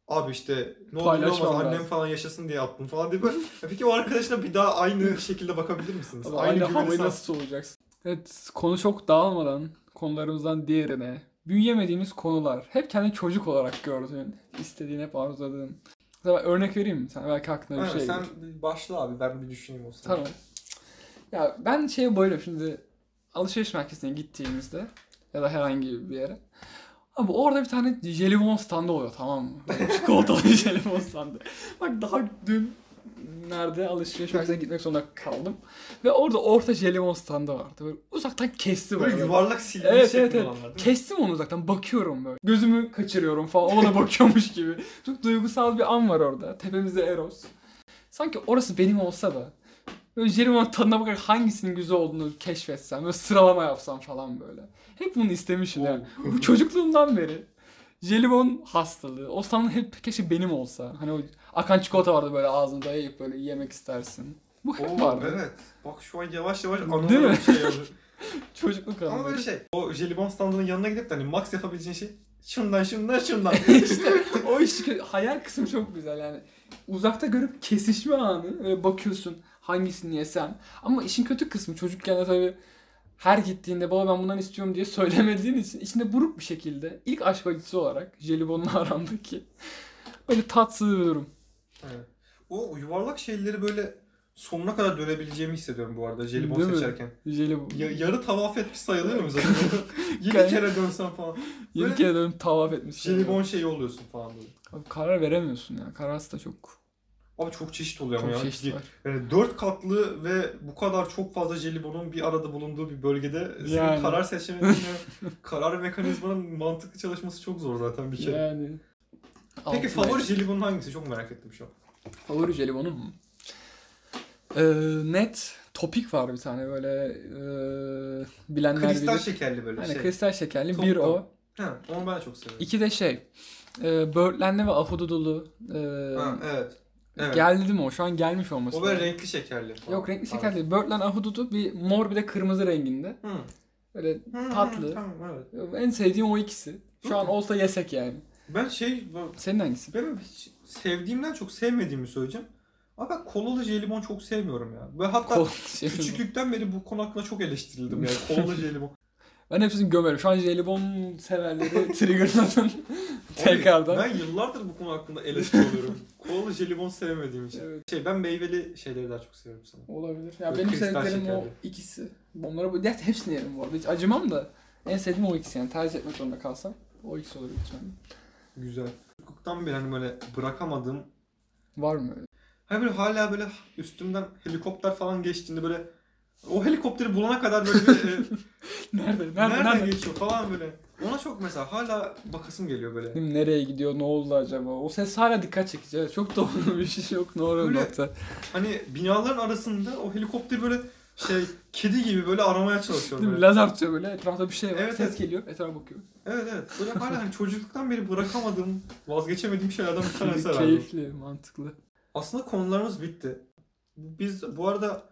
[SPEAKER 1] abi işte ne olur ne
[SPEAKER 2] Paylaşmam
[SPEAKER 1] olmaz annem
[SPEAKER 2] lazım."
[SPEAKER 1] falan yaşasın diye attım falan diye böyle. Ya Peki o arkadaşına bir daha aynı şekilde bakabilir misiniz?
[SPEAKER 2] Ama aynı
[SPEAKER 1] güveni
[SPEAKER 2] havayı
[SPEAKER 1] sağ-
[SPEAKER 2] nasıl soğuyacaksın? Evet konu çok dağılmadan konularımızdan diğerine. Büyüyemediğimiz konular. Hep kendi çocuk olarak gördüğün, istediğin, hep arzuladığın. Mesela ben örnek vereyim mi? Sen belki aklına bir
[SPEAKER 1] Aynen,
[SPEAKER 2] şey gelir.
[SPEAKER 1] sen bir başla abi ben bir düşüneyim o zaman.
[SPEAKER 2] Tamam. Ya ben şeye bayılıyorum şimdi alışveriş merkezine gittiğimizde ya da herhangi bir yere. Abi orada bir tane jelibon standı oluyor tamam mı? Böyle Çikolatalı jelibon standı. Bak daha dün nerede alışveriş merkezine gitmek zorunda kaldım. Ve orada orta jelibon standı vardı. Böyle uzaktan kesti bana.
[SPEAKER 1] Böyle yuvarlak silgi
[SPEAKER 2] Evet,
[SPEAKER 1] şeklinde
[SPEAKER 2] evet, evet.
[SPEAKER 1] olanlar değil mi?
[SPEAKER 2] Kestim onu zaten bakıyorum böyle. Gözümü kaçırıyorum falan ona da bakıyormuş gibi. Çok duygusal bir an var orada. Tepemizde Eros. Sanki orası benim olsa da. Böyle Jeremy'nin tadına bakarak hangisinin güzel olduğunu keşfetsem. Böyle sıralama yapsam falan böyle. Hep bunu istemişim yani.
[SPEAKER 1] Oh.
[SPEAKER 2] Bu çocukluğumdan beri. Jelibon hastalığı. O sanırım hep keşke benim olsa. Hani o akan çikolata vardı böyle ağzına dayayıp böyle yemek istersin. Bu hep
[SPEAKER 1] Oo,
[SPEAKER 2] vardı.
[SPEAKER 1] Oh, evet. Bak şu an yavaş yavaş
[SPEAKER 2] Değil
[SPEAKER 1] anılarım
[SPEAKER 2] mi?
[SPEAKER 1] şey oluyor.
[SPEAKER 2] Çocukluk
[SPEAKER 1] Ama
[SPEAKER 2] anıları.
[SPEAKER 1] böyle şey, o jelibon standının yanına gidip de hani max yapabileceğin şey şundan şundan şundan.
[SPEAKER 2] işte o iş hayal kısmı çok güzel yani. Uzakta görüp kesişme anı öyle bakıyorsun hangisini yesem. Ama işin kötü kısmı çocukken de tabii her gittiğinde baba ben bundan istiyorum diye söylemediğin için içinde buruk bir şekilde ilk aşk acısı olarak jelibonla aramdaki böyle tatsız bir durum.
[SPEAKER 1] Evet. O yuvarlak şeyleri böyle sonuna kadar dönebileceğimi hissediyorum bu arada jelibon
[SPEAKER 2] Değil mi?
[SPEAKER 1] seçerken.
[SPEAKER 2] Jelibon.
[SPEAKER 1] Ya, yarı tavaf etmiş sayılıyor mu zaten? Yedi
[SPEAKER 2] Kay-
[SPEAKER 1] kere dönsen falan.
[SPEAKER 2] Yeni
[SPEAKER 1] böyle-
[SPEAKER 2] kere dönüp tavaf etmiş. yani.
[SPEAKER 1] Jelibon şeyi oluyorsun falan böyle.
[SPEAKER 2] Abi karar veremiyorsun ya. Kararsız da çok
[SPEAKER 1] Abi çok çeşit oluyor
[SPEAKER 2] çok
[SPEAKER 1] ama ya.
[SPEAKER 2] çeşit var.
[SPEAKER 1] Yani dört katlı ve bu kadar çok fazla jelibonun bir arada bulunduğu bir bölgede senin
[SPEAKER 2] Yani.
[SPEAKER 1] karar seçemediğine, karar mekanizmanın mantıklı çalışması çok zor zaten bir kere.
[SPEAKER 2] Yani.
[SPEAKER 1] Peki
[SPEAKER 2] Altına-
[SPEAKER 1] favori jelibonun hangisi? Çok merak ettim şu an.
[SPEAKER 2] Favori jelibonum mu? Ee, net topik var bir tane böyle ee, bilenler
[SPEAKER 1] Kristal
[SPEAKER 2] bilir.
[SPEAKER 1] şekerli böyle
[SPEAKER 2] Hani
[SPEAKER 1] şey.
[SPEAKER 2] kristal şekerli
[SPEAKER 1] Top
[SPEAKER 2] bir
[SPEAKER 1] top.
[SPEAKER 2] o.
[SPEAKER 1] Ha, onu ben de çok seviyorum.
[SPEAKER 2] İki de şey. E, böğürtlenli ve ahududulu. ee,
[SPEAKER 1] Ha, evet. Evet.
[SPEAKER 2] Geldi mi o? Şu an gelmiş olması.
[SPEAKER 1] O böyle
[SPEAKER 2] lazım.
[SPEAKER 1] renkli şekerli. falan.
[SPEAKER 2] Yok renkli şeker
[SPEAKER 1] Abi.
[SPEAKER 2] değil. Böğürtlen ahududu bir mor bir de kırmızı renginde.
[SPEAKER 1] Hı.
[SPEAKER 2] Böyle
[SPEAKER 1] Hı, hı,
[SPEAKER 2] Tatlı.
[SPEAKER 1] Tamam, evet.
[SPEAKER 2] en sevdiğim o ikisi. Şu an olsa yesek yani.
[SPEAKER 1] Ben şey, bu-
[SPEAKER 2] Senin hangisi?
[SPEAKER 1] benim hiç sevdiğimden çok sevmediğimi söyleyeceğim. Ama ben kolalı jelibon çok sevmiyorum ya. Ve hatta
[SPEAKER 2] Kol şey-
[SPEAKER 1] küçüklükten beri bu konu hakkında çok eleştirildim yani. Kolalı jelibon.
[SPEAKER 2] Ben hepsini gömerim. Şu an jelibon severleri triggerladım. Tekrardan.
[SPEAKER 1] Abi, Ben yıllardır bu konu hakkında eleştiri alıyorum. Kolalı jelibon sevmediğim için.
[SPEAKER 2] Evet.
[SPEAKER 1] Şey ben meyveli şeyleri daha çok seviyorum sanırım.
[SPEAKER 2] Olabilir. Ya
[SPEAKER 1] Böyle
[SPEAKER 2] benim
[SPEAKER 1] kristal
[SPEAKER 2] sevdiklerim o
[SPEAKER 1] şekerli.
[SPEAKER 2] ikisi. Onlara bu diğer hepsini yerim bu arada. Hiç acımam da. En sevdiğim o ikisi yani. Tercih etmek zorunda kalsam o ikisi olabilir yani.
[SPEAKER 1] Güzel. Çocukluktan beri hani böyle bırakamadığım
[SPEAKER 2] Var mı öyle?
[SPEAKER 1] Hani böyle hala böyle üstümden helikopter falan geçtiğinde böyle o helikopteri bulana kadar böyle bir, e,
[SPEAKER 2] Nerede? Nerede?
[SPEAKER 1] nereden
[SPEAKER 2] Nerede?
[SPEAKER 1] geçiyor falan böyle. Ona çok mesela hala bakasım geliyor böyle.
[SPEAKER 2] Değil mi? Nereye gidiyor? Ne oldu acaba? O ses hala dikkat çekici. Evet, çok doğru bir şey yok. Doğru bir
[SPEAKER 1] Böyle-
[SPEAKER 2] nokta.
[SPEAKER 1] Hani binaların arasında o helikopteri böyle şey kedi gibi böyle aramaya çalışıyorum.
[SPEAKER 2] Değil mi?
[SPEAKER 1] Böyle.
[SPEAKER 2] Lazer tutuyor böyle. Etrafta bir şey var.
[SPEAKER 1] Evet,
[SPEAKER 2] ses
[SPEAKER 1] evet.
[SPEAKER 2] geliyor. Etrafa bakıyor.
[SPEAKER 1] Evet evet. Böyle hala hani çocukluktan beri bırakamadığım, vazgeçemediğim şeylerden bir tanesi herhalde.
[SPEAKER 2] Keyifli, mantıklı.
[SPEAKER 1] Aslında konularımız bitti. Biz bu arada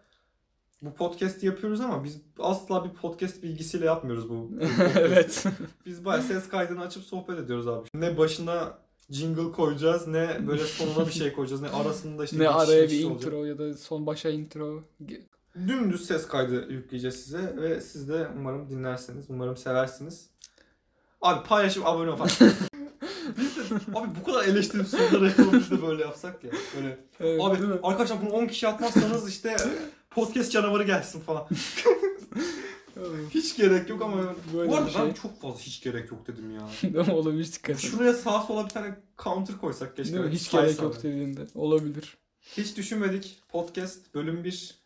[SPEAKER 1] bu podcast'i yapıyoruz ama biz asla bir podcast bilgisiyle yapmıyoruz bu.
[SPEAKER 2] evet.
[SPEAKER 1] Biz bayağı ses kaydını açıp sohbet ediyoruz abi. Ne başına jingle koyacağız ne böyle sonuna bir şey koyacağız ne arasında işte
[SPEAKER 2] ne
[SPEAKER 1] geçiş
[SPEAKER 2] araya bir
[SPEAKER 1] geçiş
[SPEAKER 2] intro
[SPEAKER 1] olacak.
[SPEAKER 2] ya da son başa intro. Ge-
[SPEAKER 1] Dümdüz ses kaydı yükleyeceğiz size ve siz de umarım dinlersiniz. Umarım seversiniz. Abi paylaşıp abone ol falan. Biz de- abi bu kadar eleştirip sorular yapalım biz de böyle yapsak ya. Böyle
[SPEAKER 2] Evet,
[SPEAKER 1] Abi
[SPEAKER 2] değil mi?
[SPEAKER 1] arkadaşlar bunu 10 kişi atmazsanız işte podcast canavarı gelsin falan. Hiç gerek yok ama
[SPEAKER 2] Böyle
[SPEAKER 1] bu arada
[SPEAKER 2] bir şey.
[SPEAKER 1] ben çok fazla hiç gerek yok dedim ya.
[SPEAKER 2] Değil mi? Olabilir dikkat et.
[SPEAKER 1] Şuraya sağa sola bir tane counter koysak keşke.
[SPEAKER 2] Değil mi? Hiç
[SPEAKER 1] Say
[SPEAKER 2] gerek
[SPEAKER 1] sana.
[SPEAKER 2] yok dediğinde. Olabilir.
[SPEAKER 1] Hiç düşünmedik. Podcast bölüm 1